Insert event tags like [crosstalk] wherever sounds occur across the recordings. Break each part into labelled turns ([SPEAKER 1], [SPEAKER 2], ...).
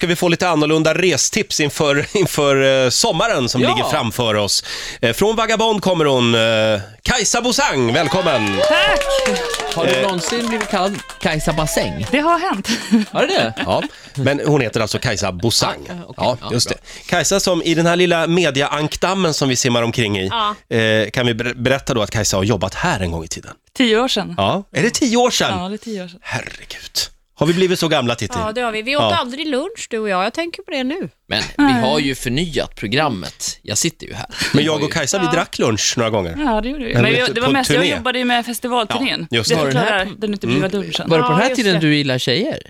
[SPEAKER 1] ska vi få lite annorlunda restips inför, [laughs] inför eh, sommaren som
[SPEAKER 2] Ja.
[SPEAKER 1] ligger framför oss. Eh, Från Vagabond kommer hon, eh, Kajsa Bosang, välkommen!
[SPEAKER 3] Tack!
[SPEAKER 2] Har du någonsin blivit kallad Kajsa Bassäng?
[SPEAKER 3] Det har hänt. [laughs]
[SPEAKER 2] Har du det?
[SPEAKER 1] Ja, men hon heter alltså Kajsa Bosang.
[SPEAKER 2] Ah, okej.
[SPEAKER 1] Ja,
[SPEAKER 2] Ja,
[SPEAKER 1] just det.
[SPEAKER 2] bra.
[SPEAKER 1] Kajsa som i den här lilla media-ankdammen som vi simmar omkring i,
[SPEAKER 3] Ja.
[SPEAKER 1] eh, kan vi ber- berätta då att Kajsa har jobbat här en gång i tiden.
[SPEAKER 3] Tio år sedan.
[SPEAKER 1] Ja, är det tio år sedan?
[SPEAKER 3] Ja, det är tio år sedan.
[SPEAKER 1] Herregud. Har vi blivit så gamla, Titti?
[SPEAKER 4] Ja, det har vi. Vi åt
[SPEAKER 1] Ja.
[SPEAKER 4] aldrig lunch du och jag. Jag tänker på det nu.
[SPEAKER 2] Men vi har ju förnyat programmet. Jag sitter ju här.
[SPEAKER 1] Men jag och Kajsa, vi drack lunch några gånger.
[SPEAKER 3] Ja, det gjorde vi.
[SPEAKER 1] Men
[SPEAKER 3] Men
[SPEAKER 1] vet
[SPEAKER 3] jag,
[SPEAKER 1] du,
[SPEAKER 3] det var
[SPEAKER 1] på
[SPEAKER 3] mest,
[SPEAKER 1] turné?
[SPEAKER 3] jag jobbade ju med festivalturnén.
[SPEAKER 1] Ja, just
[SPEAKER 3] det
[SPEAKER 1] det. Mm.
[SPEAKER 2] Var den här
[SPEAKER 3] förklarar den uteblivna lunchen.
[SPEAKER 2] Var det på den
[SPEAKER 4] Ja,
[SPEAKER 2] här
[SPEAKER 4] just
[SPEAKER 2] tiden
[SPEAKER 4] det.
[SPEAKER 2] du gillade tjejer?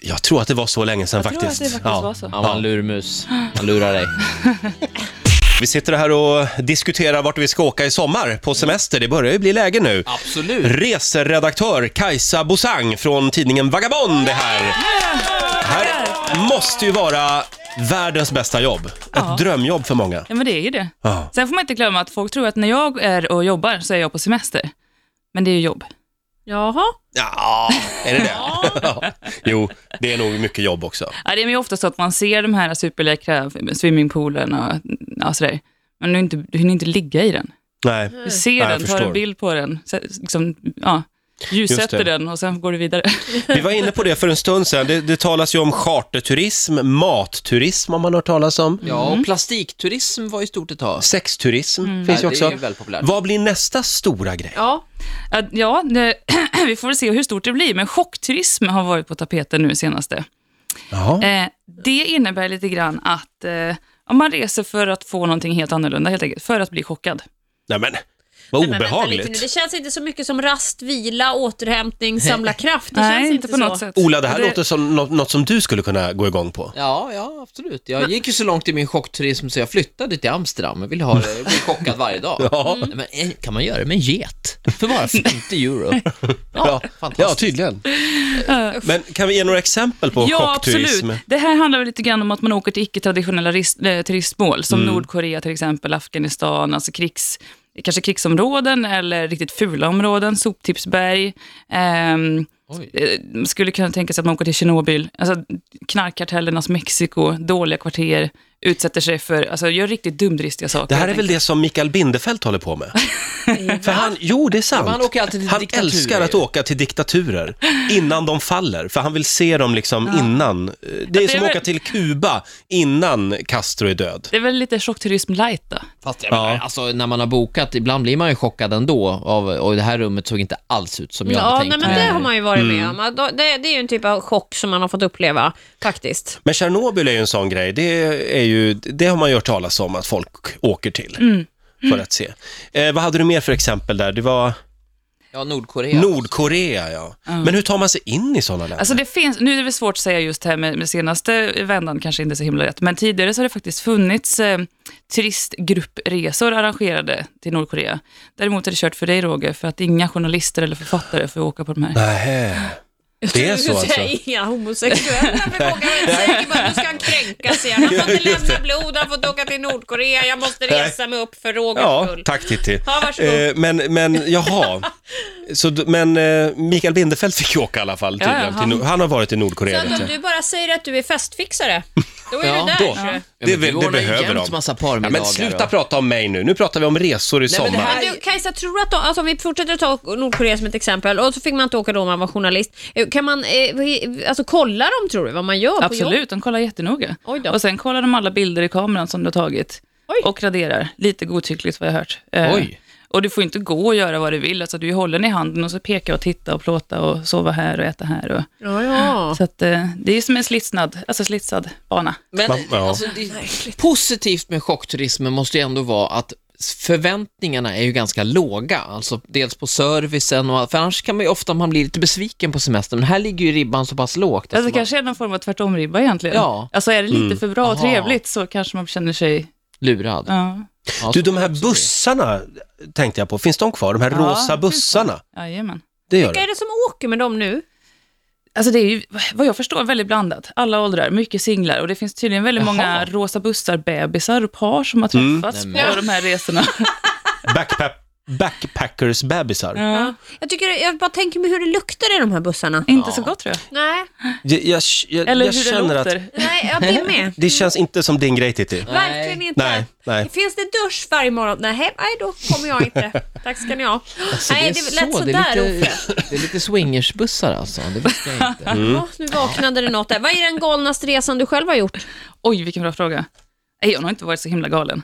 [SPEAKER 1] Jag tror att det var så länge sedan
[SPEAKER 3] Jag tror
[SPEAKER 1] faktiskt.
[SPEAKER 3] att det faktiskt
[SPEAKER 1] Ja.
[SPEAKER 3] var så.
[SPEAKER 2] Han var en lurmus. Han lurar dig.
[SPEAKER 1] Vi sitter här och diskuterar vart vi ska åka i sommar på semester. Det börjar ju bli läge nu.
[SPEAKER 2] Absolut.
[SPEAKER 1] Reseredaktör Kajsa Bosang från tidningen Vagabond är här. här måste ju vara världens bästa jobb. Ett
[SPEAKER 3] Ja.
[SPEAKER 1] drömjobb för många.
[SPEAKER 3] Ja, men det är ju det.
[SPEAKER 1] Ja.
[SPEAKER 3] Sen får man inte glömma att folk tror att när jag är och jobbar så är jag på semester. Men det är ju jobb.
[SPEAKER 4] Jaha.
[SPEAKER 1] Ja, är det det? [laughs] Ja. Jo, det är nog mycket jobb också.
[SPEAKER 3] Ja, det är ju ofta så att man ser de här superläckra swimmingpoolerna och ja, sådär. Men du, är inte, du hinner inte ligga i den.
[SPEAKER 1] Nej.
[SPEAKER 3] Du ser
[SPEAKER 1] jag
[SPEAKER 3] den, tar
[SPEAKER 1] förstår.
[SPEAKER 3] en bild på den, så- liksom, ja,
[SPEAKER 1] det.
[SPEAKER 3] ljussätter den och sen går du vidare.
[SPEAKER 1] Vi var inne på det för en stund sedan. Det, det talas ju om charterturism, matturism har man hört talas om.
[SPEAKER 2] Ja, och plastikturism var ju stort ett tag.
[SPEAKER 1] Sexturism finns ju
[SPEAKER 2] Ja, det är
[SPEAKER 1] också.
[SPEAKER 2] ju väldigt populärt.
[SPEAKER 1] Vad blir nästa stora grej?
[SPEAKER 4] Ja.
[SPEAKER 3] Ja, Ja, det, [clears throat] vi får väl se hur stort det blir, men chockturism har varit på tapeten nu senaste.
[SPEAKER 1] Jaha.
[SPEAKER 4] Mm.
[SPEAKER 3] Eh, det innebär lite grann att eh, om man reser för att få någonting helt annorlunda, helt enkelt, för att bli chockad.
[SPEAKER 1] Nej men, vad
[SPEAKER 4] Men vänta lite nu.
[SPEAKER 1] obehagligt.
[SPEAKER 4] Det känns inte så mycket som rast, vila,
[SPEAKER 3] [laughs]
[SPEAKER 4] återhämning, samla kraft. Det
[SPEAKER 3] Nej,
[SPEAKER 4] känns
[SPEAKER 3] inte,
[SPEAKER 4] inte
[SPEAKER 3] på
[SPEAKER 4] så.
[SPEAKER 3] något sätt.
[SPEAKER 1] Ola, det här
[SPEAKER 3] Och
[SPEAKER 1] låter som något, något som du skulle kunna gå igång på.
[SPEAKER 2] Ja, ja, absolut. Jag gick ju så långt i min chockturism så jag flyttade till Amsterdam. Jag ville ha det, jag blev chockad varje dag.
[SPEAKER 1] [laughs] Ja.
[SPEAKER 2] Nej, Men eh, kan man göra det med en get? För bara 50 euro.
[SPEAKER 1] Ja,
[SPEAKER 2] fantastiskt.
[SPEAKER 1] ja, tydligen. Men kan vi ge några exempel på
[SPEAKER 3] Ja, absolut.
[SPEAKER 1] chockturism?
[SPEAKER 3] Det här handlar väl lite grann om att man åker till icke-traditionella ris- eh, turistmål, som
[SPEAKER 1] Mm.
[SPEAKER 3] Nordkorea till exempel, Afghanistan, alltså krigs, kanske krigsområden eller riktigt fula områden, soptipsberg. Ehm,
[SPEAKER 2] Oj.
[SPEAKER 3] eh, man skulle kunna tänka sig att man åker till Tjernobyl, alltså knarkkartellernas Mexiko, dåliga kvarter, utsätter sig för, alltså gör riktigt dumdristiga saker.
[SPEAKER 1] Det här är
[SPEAKER 3] helt
[SPEAKER 1] väl det som Mikael Bindefeld håller på med. För han, jo, det är sant.
[SPEAKER 2] men han åker alltid till
[SPEAKER 1] Han
[SPEAKER 2] diktaturer
[SPEAKER 1] älskar att
[SPEAKER 2] ju.
[SPEAKER 1] åka till diktaturer innan de faller, för han vill se dem liksom innan. Det är som att
[SPEAKER 3] väl-
[SPEAKER 1] åka till Kuba innan Castro är död.
[SPEAKER 3] Det är väl lite chockturism light då?
[SPEAKER 2] Fast jag menar, alltså, när man har bokat, ibland blir man ju chockad ändå av, och det här rummet såg inte alls ut som jag hade
[SPEAKER 4] Ja, Mm.
[SPEAKER 2] tänkt
[SPEAKER 4] nej, men det har man ju varit med om. Då- Det, det är ju en typ av chock som man har fått uppleva faktiskt.
[SPEAKER 1] Men Tjernobyl är ju en sån grej, det, är ju, det har man ju hört talas om att folk åker till. För att se. Eh, vad hade du mer för exempel där? Det var
[SPEAKER 2] Ja, Nordkorea.
[SPEAKER 1] Nordkorea, ja. Men hur tar man sig in i sådana länder?
[SPEAKER 3] Alltså det finns, nu är det väl svårt att säga just det här med, med senaste vändan, kanske inte så himla rätt, men tidigare så har det faktiskt funnits eh, turistgruppresor arrangerade till Nordkorea. Däremot är det kört för dig Roger, för att inga journalister eller författare får åka på de här.
[SPEAKER 1] Nähä. Det är
[SPEAKER 4] Jag [laughs]
[SPEAKER 1] så
[SPEAKER 4] skulle
[SPEAKER 1] alltså?
[SPEAKER 4] säga, Inga homosexuella förvågar mig. Säger bara nu ska han kränkas igen. Han får inte lämna blod, han får åka till Nordkorea. Jag måste resa mig upp för Rogers
[SPEAKER 1] Ja,
[SPEAKER 4] skull.
[SPEAKER 1] tack Titti.
[SPEAKER 4] Ja, varsågod.
[SPEAKER 1] Eh, men, men jaha. Så, d- men eh, Mikael Bindefeld fick ju åka i alla fall. Tydligen,
[SPEAKER 3] Ja, ja,
[SPEAKER 1] till,
[SPEAKER 3] han-
[SPEAKER 1] Nor- han har varit i Nordkorea.
[SPEAKER 4] Så
[SPEAKER 1] vet
[SPEAKER 4] att om
[SPEAKER 1] jag.
[SPEAKER 4] du bara säger att du är festfixare, då är
[SPEAKER 2] Ja,
[SPEAKER 4] du där.
[SPEAKER 1] då.
[SPEAKER 4] tror jag.
[SPEAKER 2] Ja, men
[SPEAKER 1] Det, vill,
[SPEAKER 2] du
[SPEAKER 1] det
[SPEAKER 2] ordnar ju
[SPEAKER 1] behöver
[SPEAKER 2] jämt
[SPEAKER 1] de.
[SPEAKER 2] massa
[SPEAKER 1] ja,
[SPEAKER 2] parmiddagar
[SPEAKER 1] men sluta
[SPEAKER 2] och-
[SPEAKER 1] prata om mig nu. Nu pratar vi om resor i
[SPEAKER 2] Nej, men det
[SPEAKER 1] sommar.
[SPEAKER 2] här-
[SPEAKER 4] Men du, Kajsa, tror du att de, alltså, om vi fortsätter att ta Nordkorea som ett exempel och så fick man inte åka då om man var journalist. Eh, Kan man, eh, vi- alltså kolla dem tror du, vad man gör på jobb?
[SPEAKER 3] Absolut, de kollar jättenoga.
[SPEAKER 4] Oj då.
[SPEAKER 3] Och sen kollar de alla bilder i kameran som du har tagit
[SPEAKER 4] Oj.
[SPEAKER 3] och raderar. Lite godtyckligt vad jag har hört. Eh,
[SPEAKER 2] Oj.
[SPEAKER 3] Och du får inte gå och göra vad du vill, alltså du är hållen i handen och så peka och titta och plåta och sova här och äta här. Och...
[SPEAKER 4] Ja, ja.
[SPEAKER 3] Så att, eh, det är som en slitsnad, alltså slitsad bana.
[SPEAKER 2] Men
[SPEAKER 1] Man- ja.
[SPEAKER 2] alltså, det, positivt med chockturismen måste ju ändå vara att förväntningarna är ju ganska låga, alltså dels på servicen och för annars kan man ju ofta man blir lite besviken på semestern, men här ligger ju ribban så pass lågt.
[SPEAKER 3] Alltså, det
[SPEAKER 2] man-
[SPEAKER 3] kanske är någon form av tvärtomribba egentligen.
[SPEAKER 2] Ja.
[SPEAKER 3] Alltså är det lite för bra och
[SPEAKER 2] Aha.
[SPEAKER 3] trevligt så kanske man känner sig...
[SPEAKER 2] Lurad.
[SPEAKER 3] Ja,
[SPEAKER 2] Ja,
[SPEAKER 1] Du,
[SPEAKER 2] så
[SPEAKER 1] de här
[SPEAKER 2] kan det också bli.
[SPEAKER 1] bussarna tänkte jag på. Finns de kvar? De här
[SPEAKER 3] Ja,
[SPEAKER 1] rosa
[SPEAKER 3] det finns
[SPEAKER 1] bussarna?
[SPEAKER 3] jajamän.
[SPEAKER 1] Det gör
[SPEAKER 4] Vilka är
[SPEAKER 1] det.
[SPEAKER 4] det som åker med dem nu?
[SPEAKER 3] Alltså det är ju, vad jag förstår, väldigt blandat. Alla åldrar, mycket singlar och det finns tydligen väldigt
[SPEAKER 2] Jaha.
[SPEAKER 3] många rosa bussar, bebisar och par som har träffats
[SPEAKER 2] Mm.
[SPEAKER 3] på de här resorna.
[SPEAKER 1] Backpack backpackers-bebisar.
[SPEAKER 3] Ja.
[SPEAKER 4] Jag, tycker, jag bara tänker mig hur det luktar i de här bussarna.
[SPEAKER 3] [laughs] Inte så gott tror jag.
[SPEAKER 4] Nej,
[SPEAKER 1] Jag, jag, jag,
[SPEAKER 3] Eller
[SPEAKER 1] jag
[SPEAKER 3] hur det
[SPEAKER 1] känner
[SPEAKER 3] låter.
[SPEAKER 1] att
[SPEAKER 4] nej jag är med.
[SPEAKER 1] det känns inte som din grej Titti.
[SPEAKER 2] Nej.
[SPEAKER 4] Verkligen inte.
[SPEAKER 1] Nej, nej.
[SPEAKER 4] Finns det dusch varje morgon? Nej, nej då kommer jag inte. Tack ska ni ha. nej, det lät
[SPEAKER 2] så, Alltså, det
[SPEAKER 4] sådär
[SPEAKER 2] är lite,
[SPEAKER 4] Uffe.
[SPEAKER 2] [laughs] det är lite swingersbussar alltså, det visste jag
[SPEAKER 4] [laughs]
[SPEAKER 2] inte.
[SPEAKER 1] Mm.
[SPEAKER 4] Ja, nu vaknade det något där. Vad är den galnaste resan du själv har gjort?
[SPEAKER 3] Oj, vilken bra fråga. Nej, jag har inte varit så himla galen.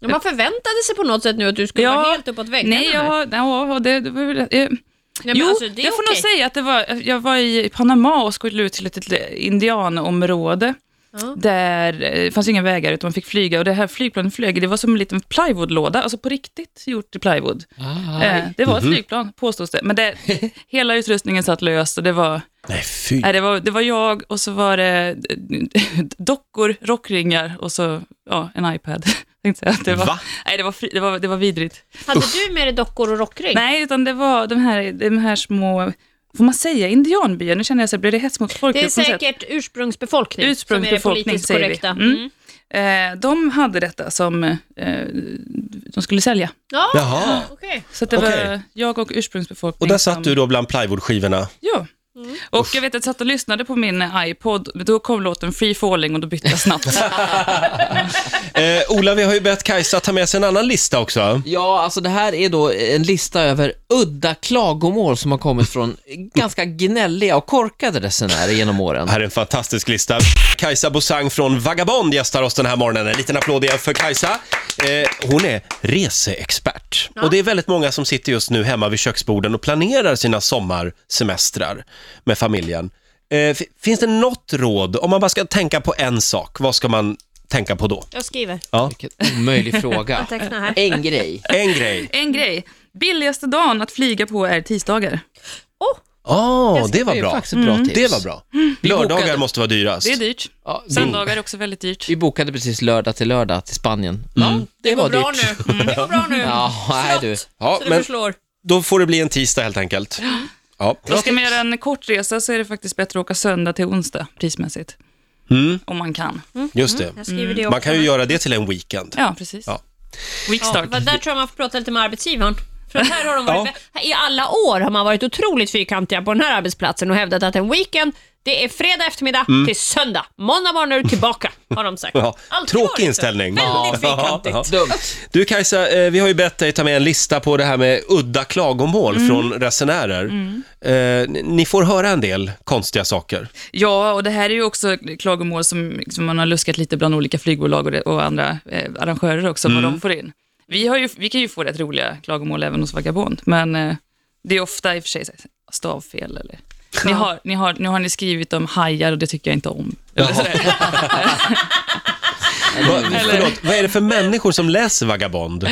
[SPEAKER 4] Ja, Man förväntade sig på något sätt nu att du skulle
[SPEAKER 3] Ja.
[SPEAKER 4] vara helt uppåt väggarna.
[SPEAKER 3] Nej, jag
[SPEAKER 4] här.
[SPEAKER 3] har... Ja, det, det var väl... eh,
[SPEAKER 4] Nej, men
[SPEAKER 3] jo,
[SPEAKER 4] alltså, det är
[SPEAKER 3] jag får nog
[SPEAKER 4] okej.
[SPEAKER 3] säga att det var, jag var i Panama och skulle ut till ett litet indianområde.
[SPEAKER 4] Ja.
[SPEAKER 3] Där eh, det fanns inga vägar utan man fick flyga och det här flygplanet flög, det var som en liten plywoodlåda, alltså på riktigt gjort i plywood.
[SPEAKER 2] Ah,
[SPEAKER 3] Eh, det var ett
[SPEAKER 1] Mhm.
[SPEAKER 3] flygplan, påstås det. Men det, hela utrustningen satt löst och det var,
[SPEAKER 1] Nej, fy.
[SPEAKER 3] nej, det, var, det var jag och så var det eh, [laughs] dockor, rockringar och så ja, en iPad. [laughs] Tänkte jag att det var,
[SPEAKER 1] Va?
[SPEAKER 3] Nej, det var, fri, det var, det var vidrigt.
[SPEAKER 4] Hade du med dig dockor och rockring?
[SPEAKER 3] Nej, utan det var de här, de här små, får man säga indianbyar? Nu känner jag så här, blir det hets mot
[SPEAKER 4] Det är
[SPEAKER 3] folkgrupp på något sätt?
[SPEAKER 4] säkert ursprungsbefolkning,
[SPEAKER 3] Ursprungsbefolkning,
[SPEAKER 4] som är det politiskt
[SPEAKER 3] säger vi.
[SPEAKER 4] korrekta.
[SPEAKER 3] Mm. Eh, de hade detta som eh, de skulle sälja.
[SPEAKER 4] Ja,
[SPEAKER 1] Jaha.
[SPEAKER 4] okej.
[SPEAKER 3] Så att det var
[SPEAKER 1] Okej.
[SPEAKER 3] jag och ursprungsbefolkningen.
[SPEAKER 1] Och där
[SPEAKER 3] som-
[SPEAKER 1] satt du Mm. då bland plywoodskivorna.
[SPEAKER 3] Ja. Och jag vet att jag satt och lyssnade på min eh, iPod, men då kom låten Free Falling och då bytte jag snabbt.
[SPEAKER 4] [laughs]
[SPEAKER 1] Eh, Ola, vi har ju bett Kajsa ta med sig en annan lista också.
[SPEAKER 2] Ja, alltså det här är då en lista över udda klagomål som har kommit från ganska gnälliga och korkade resenärer genom åren.
[SPEAKER 1] Här är en fantastisk lista. Kajsa Bosang från Vagabond gästar oss den här morgonen. En liten applåd igen för Kajsa. Eh, hon är reseexpert. Och det är väldigt många som sitter just nu hemma vid köksborden och planerar sina sommarsemestrar med familjen. Eh, f- finns det något råd, om man bara ska tänka på en sak, vad ska man tänka på då?
[SPEAKER 4] Jag skriver.
[SPEAKER 2] Vilken omöjlig
[SPEAKER 4] [laughs]
[SPEAKER 2] fråga.
[SPEAKER 4] Teckna här.
[SPEAKER 2] En grej.
[SPEAKER 1] En
[SPEAKER 2] [laughs]
[SPEAKER 1] grej.
[SPEAKER 3] En grej, billigaste dagen att flyga på är tisdagar.
[SPEAKER 1] Åh, Ah, det var
[SPEAKER 2] Det är
[SPEAKER 1] bra. Mm.
[SPEAKER 2] faktiskt ett bra tips.
[SPEAKER 1] Det var
[SPEAKER 2] [gasps]
[SPEAKER 1] bra. Lördagar måste vara dyrast.
[SPEAKER 3] Det är dyrt.
[SPEAKER 2] Ja, vi-
[SPEAKER 3] Söndagar är också väldigt dyrt.
[SPEAKER 2] Vi bokade precis lördag till lördag till Spanien. Ja, det,
[SPEAKER 4] Det
[SPEAKER 2] var
[SPEAKER 4] går bra
[SPEAKER 2] dyrt.
[SPEAKER 4] nu. Det går bra nu.
[SPEAKER 2] Ja, nej du.
[SPEAKER 1] Ja,
[SPEAKER 4] Så du
[SPEAKER 1] men
[SPEAKER 4] förslår.
[SPEAKER 1] då får det bli en tisdag helt enkelt. Ja.
[SPEAKER 3] Och ska man göra en kortresa så är det faktiskt bättre att åka söndag till onsdag prismässigt.
[SPEAKER 1] Mm,
[SPEAKER 3] Om man kan.
[SPEAKER 1] just det.
[SPEAKER 4] Jag skriver det också.
[SPEAKER 1] Mm. Man kan ju göra det till en weekend.
[SPEAKER 3] Ja, precis.
[SPEAKER 1] Ja.
[SPEAKER 4] Ja,
[SPEAKER 3] Weekstart.
[SPEAKER 4] vad- där tror jag man får prata lite med arbetsgivaren. För att här har de varit,
[SPEAKER 1] Ja.
[SPEAKER 4] här I alla år har man varit otroligt fyrkantiga på den här arbetsplatsen och hävdat att en weekend, det är fredag eftermiddag till söndag. Måndag morgon är du tillbaka, har de sagt.
[SPEAKER 1] Mm. Ja,
[SPEAKER 4] Alltid
[SPEAKER 1] tråkig
[SPEAKER 4] varit så.
[SPEAKER 1] inställning.
[SPEAKER 4] Väldigt
[SPEAKER 1] Ja.
[SPEAKER 4] fyrkantigt.
[SPEAKER 1] Ja, [laughs]
[SPEAKER 2] Dumt.
[SPEAKER 1] Du Kajsa, eh, vi har ju bett dig ta med en lista på det här med udda klagomål
[SPEAKER 4] Mm.
[SPEAKER 1] från resenärer. Eh, ni- Ni får höra en del konstiga saker.
[SPEAKER 3] Ja, och det här är ju också klagomål som, som man har luskat lite bland olika flygbolag och, det, och andra eh, arrangörer också,
[SPEAKER 1] Mm.
[SPEAKER 3] vad de får in. Vi, har ju, vi kan ju få rätt roliga klagomål även hos Vagabond, men eh, det är ofta i och för sig så här,
[SPEAKER 1] [laughs]
[SPEAKER 3] stavfel eller... Ni har, ni har, nu har ni skrivit om hajar och det tycker jag inte om. Eller sådär.
[SPEAKER 1] Va, förlåt, vad är det för människor som läser Vagabond?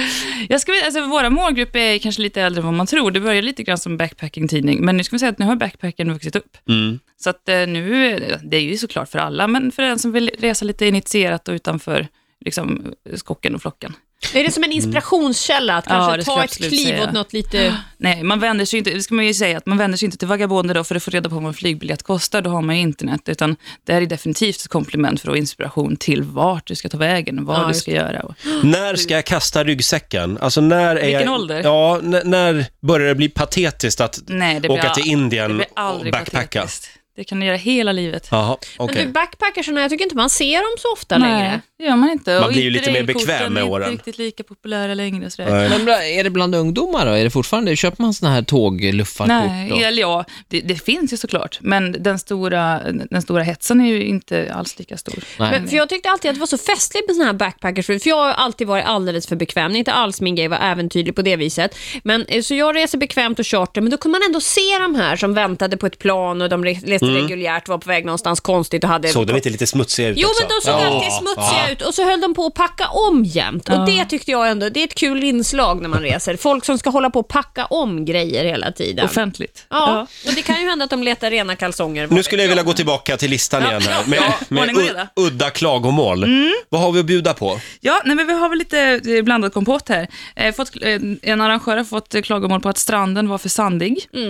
[SPEAKER 3] Jag ska, väl- alltså, våra målgrupp är kanske lite äldre än vad man tror. Det börjar lite grann som backpacking-tidning, men nu ska vi säga att nu har backpacken vuxit upp.
[SPEAKER 1] Mm.
[SPEAKER 3] Så att eh, nu, eh, det är ju såklart för alla, men för den som vill resa lite initierat och utanför liksom, skocken och flocken.
[SPEAKER 4] Är det som
[SPEAKER 1] Mm.
[SPEAKER 4] en inspirationskälla att
[SPEAKER 3] Ja,
[SPEAKER 4] kanske
[SPEAKER 3] det ska
[SPEAKER 4] ta
[SPEAKER 3] jag
[SPEAKER 4] ett
[SPEAKER 3] absolut
[SPEAKER 4] kliv
[SPEAKER 3] säga.
[SPEAKER 4] åt något lite...
[SPEAKER 3] Nej, man vänder sig inte, det ska man ju säga, att man vänder sig inte till vagabonder då för att få reda på vad en flygbiljett kostar, då har man ju internet, utan det här är definitivt ett komplement för att inspiration till vart du ska ta vägen, vad
[SPEAKER 4] Ja,
[SPEAKER 3] du
[SPEAKER 4] just
[SPEAKER 3] ska göra. Och,
[SPEAKER 1] När ska jag kasta ryggsäcken? Alltså när är
[SPEAKER 3] Vilken
[SPEAKER 1] jag,
[SPEAKER 3] ålder?
[SPEAKER 1] Ja, n- när börjar det bli patetiskt att
[SPEAKER 4] Mm.
[SPEAKER 3] nej, det blir,
[SPEAKER 1] åka
[SPEAKER 3] al-
[SPEAKER 1] till
[SPEAKER 3] det
[SPEAKER 1] Indien
[SPEAKER 3] blir
[SPEAKER 1] och
[SPEAKER 3] aldrig
[SPEAKER 1] backpacka?
[SPEAKER 3] patetiskt. Det kan du göra hela livet.
[SPEAKER 1] Jaha, okej.
[SPEAKER 4] Men du, bacpackersarna, jag tycker inte man ser dem så ofta längre.
[SPEAKER 3] det gör man inte.
[SPEAKER 1] Man
[SPEAKER 3] Och
[SPEAKER 1] blir ju lite mer
[SPEAKER 3] interrailkorten
[SPEAKER 1] bekväm med
[SPEAKER 3] är
[SPEAKER 1] åren.
[SPEAKER 3] inte riktigt lika populära längre. och Sådär.
[SPEAKER 1] Nej.
[SPEAKER 2] Men bra, är det bland ungdomar då? Är det fortfarande, köper man såna här tågluffarkort
[SPEAKER 3] Nej,
[SPEAKER 2] då?
[SPEAKER 3] eller ja, det, det finns ju såklart, men den stora, den stora hetsen är ju inte alls lika stor.
[SPEAKER 2] Nej.
[SPEAKER 4] Men, för jag tyckte alltid att det var så festligt med såna här backpackers, för jag har alltid varit alldeles för bekväm. Det är inte alls min grej, var äventyrlig på det viset. Men, eh, så jag reser bekvämt och charter, men då kunde man ändå se de här som väntade på ett plan och de re- reste reguljärt, var på väg någonstans konstigt och hade...
[SPEAKER 1] Mm. Såg de inte lite smutsiga ut
[SPEAKER 4] Jo
[SPEAKER 1] också?
[SPEAKER 4] men de såg alltid smutsiga ut och så höll de på att packa om jämt. Och det tyckte jag ändå, det är ett kul inslag när man reser. Folk som ska hålla på och packa om grejer hela tiden.
[SPEAKER 3] Offentligt.
[SPEAKER 4] Ja, och det kan ju hända att de letar rena kalsonger.
[SPEAKER 1] Nu skulle jag vilja gå tillbaka till listan igen här med,
[SPEAKER 3] ja,
[SPEAKER 1] med
[SPEAKER 3] ordning och
[SPEAKER 1] u-
[SPEAKER 3] reda.
[SPEAKER 1] udda klagomål.
[SPEAKER 4] Mm.
[SPEAKER 1] Vad har vi att bjuda på?
[SPEAKER 3] Ja, nej, men vi har väl lite eh, blandad kompott här. Eh, fått, eh, en arrangör har fått eh, klagomål på att stranden var för sandig.
[SPEAKER 2] Ja,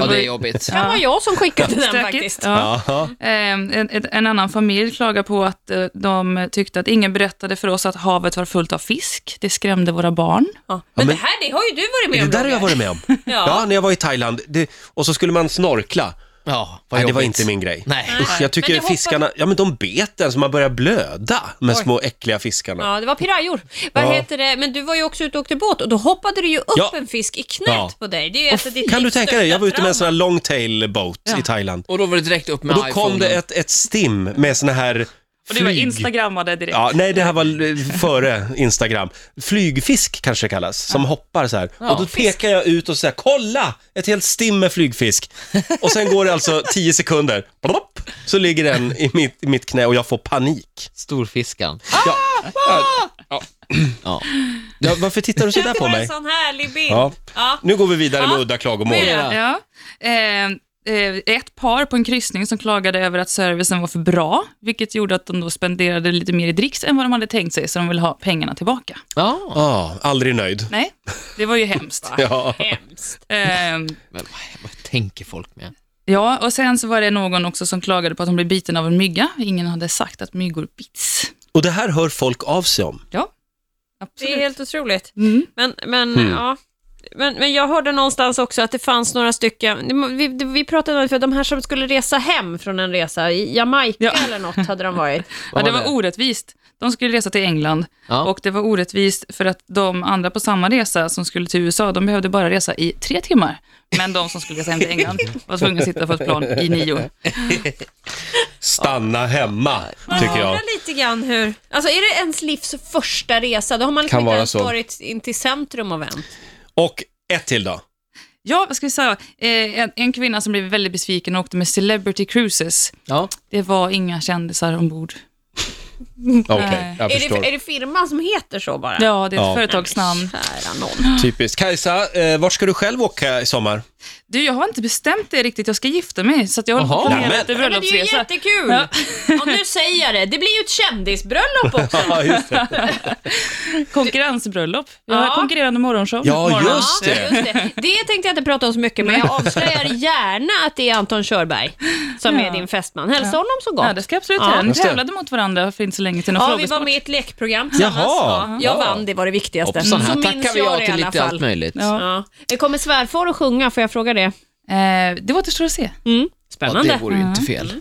[SPEAKER 3] var
[SPEAKER 2] det är
[SPEAKER 3] ju-
[SPEAKER 2] jobbigt.
[SPEAKER 4] Det kan vara jag som skickade Mm. den
[SPEAKER 3] Stökigt.
[SPEAKER 4] faktiskt.
[SPEAKER 3] Ja.
[SPEAKER 1] Ja.
[SPEAKER 3] Eh, En, ett- en annan familj klagade på att eh, de tyckte att ingen berättade för oss att havet var fullt av fisk. Det skrämde våra barn.
[SPEAKER 4] Ja.
[SPEAKER 1] men-
[SPEAKER 4] Men det här det har ju du varit med
[SPEAKER 1] Det
[SPEAKER 4] om.
[SPEAKER 1] där har jag
[SPEAKER 4] Roger.
[SPEAKER 1] varit med om. Ja, när jag var i Thailand. Det, och så skulle man snorkla.
[SPEAKER 2] Ja, vad
[SPEAKER 1] Nej, det var
[SPEAKER 2] jobbigt.
[SPEAKER 1] inte min grej.
[SPEAKER 2] Nej.
[SPEAKER 1] Usch, jag tycker
[SPEAKER 4] Men det hoppar-
[SPEAKER 1] fiskarna, ja men de bet en så man börjar blöda, de här små äckliga fiskarna.
[SPEAKER 4] Ja, det var pirajor. Vad
[SPEAKER 1] Ja.
[SPEAKER 4] heter det? Men du var ju också ute och åkte båt och då hoppade det ju upp
[SPEAKER 1] Ja.
[SPEAKER 4] en fisk i knät
[SPEAKER 1] Ja.
[SPEAKER 4] på dig. Det är ju ett av ditt
[SPEAKER 1] Kan du
[SPEAKER 4] livs
[SPEAKER 1] tänka dig, jag var ute med en sån
[SPEAKER 4] största
[SPEAKER 1] här long tail boat i Thailand.
[SPEAKER 2] Och då var det direkt upp med
[SPEAKER 1] Och då kom
[SPEAKER 2] iPhonen.
[SPEAKER 1] det ett, ett stim med såna här
[SPEAKER 3] Och det var
[SPEAKER 1] flyg-
[SPEAKER 3] instagrammade direkt.
[SPEAKER 1] Ja, nej, det här var eh, före Instagram. Flygfisk kanske det kallas, som hoppar så här. och då pekar jag ut och säger kolla! Ett helt stim med flygfisk. Och sen går det alltså tio sekunder, plopp, så ligger den i mitt, i mitt knä och jag får panik.
[SPEAKER 2] Storfiskan.
[SPEAKER 4] Ah!
[SPEAKER 1] Ja. Ja.
[SPEAKER 2] Ja. [clears throat]
[SPEAKER 1] Ja, varför tittar du så där
[SPEAKER 4] trauma.
[SPEAKER 1] på
[SPEAKER 4] Det var
[SPEAKER 1] mig?
[SPEAKER 4] en sån härlig bild.
[SPEAKER 1] Ja.
[SPEAKER 4] Ja.
[SPEAKER 1] Nu går vi vidare med
[SPEAKER 4] Ja.
[SPEAKER 1] udda klagomål.
[SPEAKER 4] Ja.
[SPEAKER 3] Ja. Eh, eh, ett par på en kryssning som klagade över att servicen var för bra, vilket gjorde att de då spenderade lite mer i dricks än vad de hade tänkt sig, så de ville ha pengarna tillbaka.
[SPEAKER 2] Ja.
[SPEAKER 1] Ah, aldrig nöjd.
[SPEAKER 3] Nej, det var ju hemskt.
[SPEAKER 1] Ja.
[SPEAKER 4] Hemskt.
[SPEAKER 3] Eh,
[SPEAKER 2] Men vad- vad tänker folk med?
[SPEAKER 3] ja, och sen så var det någon också som klagade på att de blev biten av en mygga. Ingen hade sagt att myggor bits.
[SPEAKER 1] Och det här hör folk av sig om.
[SPEAKER 3] Ja,
[SPEAKER 4] Det är
[SPEAKER 3] absolut.
[SPEAKER 4] helt otroligt.
[SPEAKER 3] Mm.
[SPEAKER 4] Men, men ja. Men, men jag hörde någonstans också att det fanns några stycken, det må- vi, det- vi pratade om för de här som skulle resa hem från en resa, i Jamaica
[SPEAKER 3] Ja.
[SPEAKER 4] eller något hade de varit.
[SPEAKER 3] Ja,
[SPEAKER 2] Vad
[SPEAKER 3] det
[SPEAKER 2] var
[SPEAKER 3] var
[SPEAKER 2] det?
[SPEAKER 3] orättvist. De skulle resa till England
[SPEAKER 2] Ja.
[SPEAKER 3] och det var orättvist för att de andra på samma resa som skulle till USA, de behövde bara resa i tre timmar. Men de som skulle resa hem till England var tvungna att sitta på ett plan i nio.
[SPEAKER 1] Stanna hemma, tycker
[SPEAKER 4] Man
[SPEAKER 1] jag.
[SPEAKER 4] undrar lite grann hur, alltså är det ens livs första resa, då har man liksom
[SPEAKER 1] Kan
[SPEAKER 4] inte
[SPEAKER 1] vara
[SPEAKER 4] ens
[SPEAKER 1] så.
[SPEAKER 4] varit in till centrum och vänt.
[SPEAKER 1] Och ett till då.
[SPEAKER 4] Mm.
[SPEAKER 3] Ja, vad ska vi säga? Eh, En, en kvinna som blev väldigt besviken och åkte med Celebrity Cruises.
[SPEAKER 2] Ja.
[SPEAKER 3] Det var inga kändisar ombord.
[SPEAKER 1] Okej,
[SPEAKER 3] Nej.
[SPEAKER 1] jag
[SPEAKER 4] Är
[SPEAKER 1] förstår.
[SPEAKER 4] det, är det firman som heter så bara?
[SPEAKER 3] Ja, det är ett
[SPEAKER 1] Ja.
[SPEAKER 3] företagsnamn.
[SPEAKER 4] Kära
[SPEAKER 3] [laughs]
[SPEAKER 4] nån.
[SPEAKER 1] Typiskt. Kajsa, eh, vart ska du själv åka i sommar?
[SPEAKER 3] Du, jag har inte bestämt det riktigt. Jag ska gifta mig, så att jag håller på att
[SPEAKER 2] Jaha.
[SPEAKER 3] planera
[SPEAKER 1] Nämen.
[SPEAKER 3] lite
[SPEAKER 4] Men det är ju
[SPEAKER 3] bröllopsresa.
[SPEAKER 4] jättekul!
[SPEAKER 3] Ja.
[SPEAKER 4] Och nu säger jag det, det blir ju
[SPEAKER 1] [laughs]
[SPEAKER 4] ett kändisbröllop också.
[SPEAKER 1] Ja, just det.
[SPEAKER 3] Konkurrensbröllop. Jag har
[SPEAKER 4] Ja.
[SPEAKER 3] konkurrerande morgonshow.
[SPEAKER 1] Ja,
[SPEAKER 3] Morgon.
[SPEAKER 1] just- det.
[SPEAKER 4] Ja, just det. Det tänkte jag inte prata om så mycket, men jag avslöjar gärna att det är Anton Körberg som är din fästman. Hälsa honom så gott.
[SPEAKER 3] Ja, det ska jag absolut
[SPEAKER 4] Ja.
[SPEAKER 3] göra. Ni
[SPEAKER 1] Just det.
[SPEAKER 3] tävlade mot varandra för inte så länge sedan. och
[SPEAKER 4] Ja, vi
[SPEAKER 3] frågesport.
[SPEAKER 4] var med i ett lekprogram tillsammans.
[SPEAKER 1] Jaha.
[SPEAKER 4] Ja, jag
[SPEAKER 1] Ja.
[SPEAKER 4] vann, det var det viktigaste.
[SPEAKER 2] Hoppsan, här
[SPEAKER 4] så
[SPEAKER 2] tackar
[SPEAKER 4] minns
[SPEAKER 2] vi ja
[SPEAKER 4] jag det i
[SPEAKER 2] till
[SPEAKER 4] alla
[SPEAKER 2] lite allt
[SPEAKER 4] fall.
[SPEAKER 2] möjligt.
[SPEAKER 3] Ja.
[SPEAKER 4] Ja. Kommer svärfar att sjunga? Får jag fråga det?
[SPEAKER 3] Eh, det återstår att se.
[SPEAKER 4] Mm.
[SPEAKER 2] Ja,
[SPEAKER 4] Spännande. Mm.
[SPEAKER 2] det vore ju inte fel.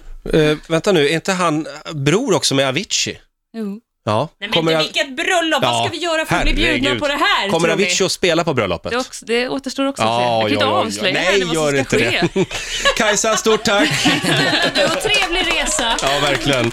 [SPEAKER 1] Eh, vänta nu, är inte han bror också med Avicii?
[SPEAKER 3] Jo.
[SPEAKER 1] Ja.
[SPEAKER 4] Nej, men
[SPEAKER 1] Av-
[SPEAKER 4] vilket bröllop! Vad
[SPEAKER 1] Ja,
[SPEAKER 4] ska vi göra för att bli bjudna
[SPEAKER 1] herregud.
[SPEAKER 4] på det här?
[SPEAKER 1] Kommer
[SPEAKER 4] tror vi?
[SPEAKER 1] Avicii att spela på bröllopet?
[SPEAKER 3] Det, är också, det återstår också att se.
[SPEAKER 1] Ja,
[SPEAKER 3] Jag
[SPEAKER 1] ja,
[SPEAKER 3] kan inte
[SPEAKER 1] ja, ja.
[SPEAKER 3] avslöja
[SPEAKER 1] Nej,
[SPEAKER 3] här nu vad som
[SPEAKER 1] gör
[SPEAKER 3] ska
[SPEAKER 1] inte
[SPEAKER 3] ske.
[SPEAKER 1] [laughs]
[SPEAKER 4] [laughs]
[SPEAKER 1] det. Kajsa, stort tack!
[SPEAKER 4] Du, och trevlig resa!
[SPEAKER 1] Ja, verkligen.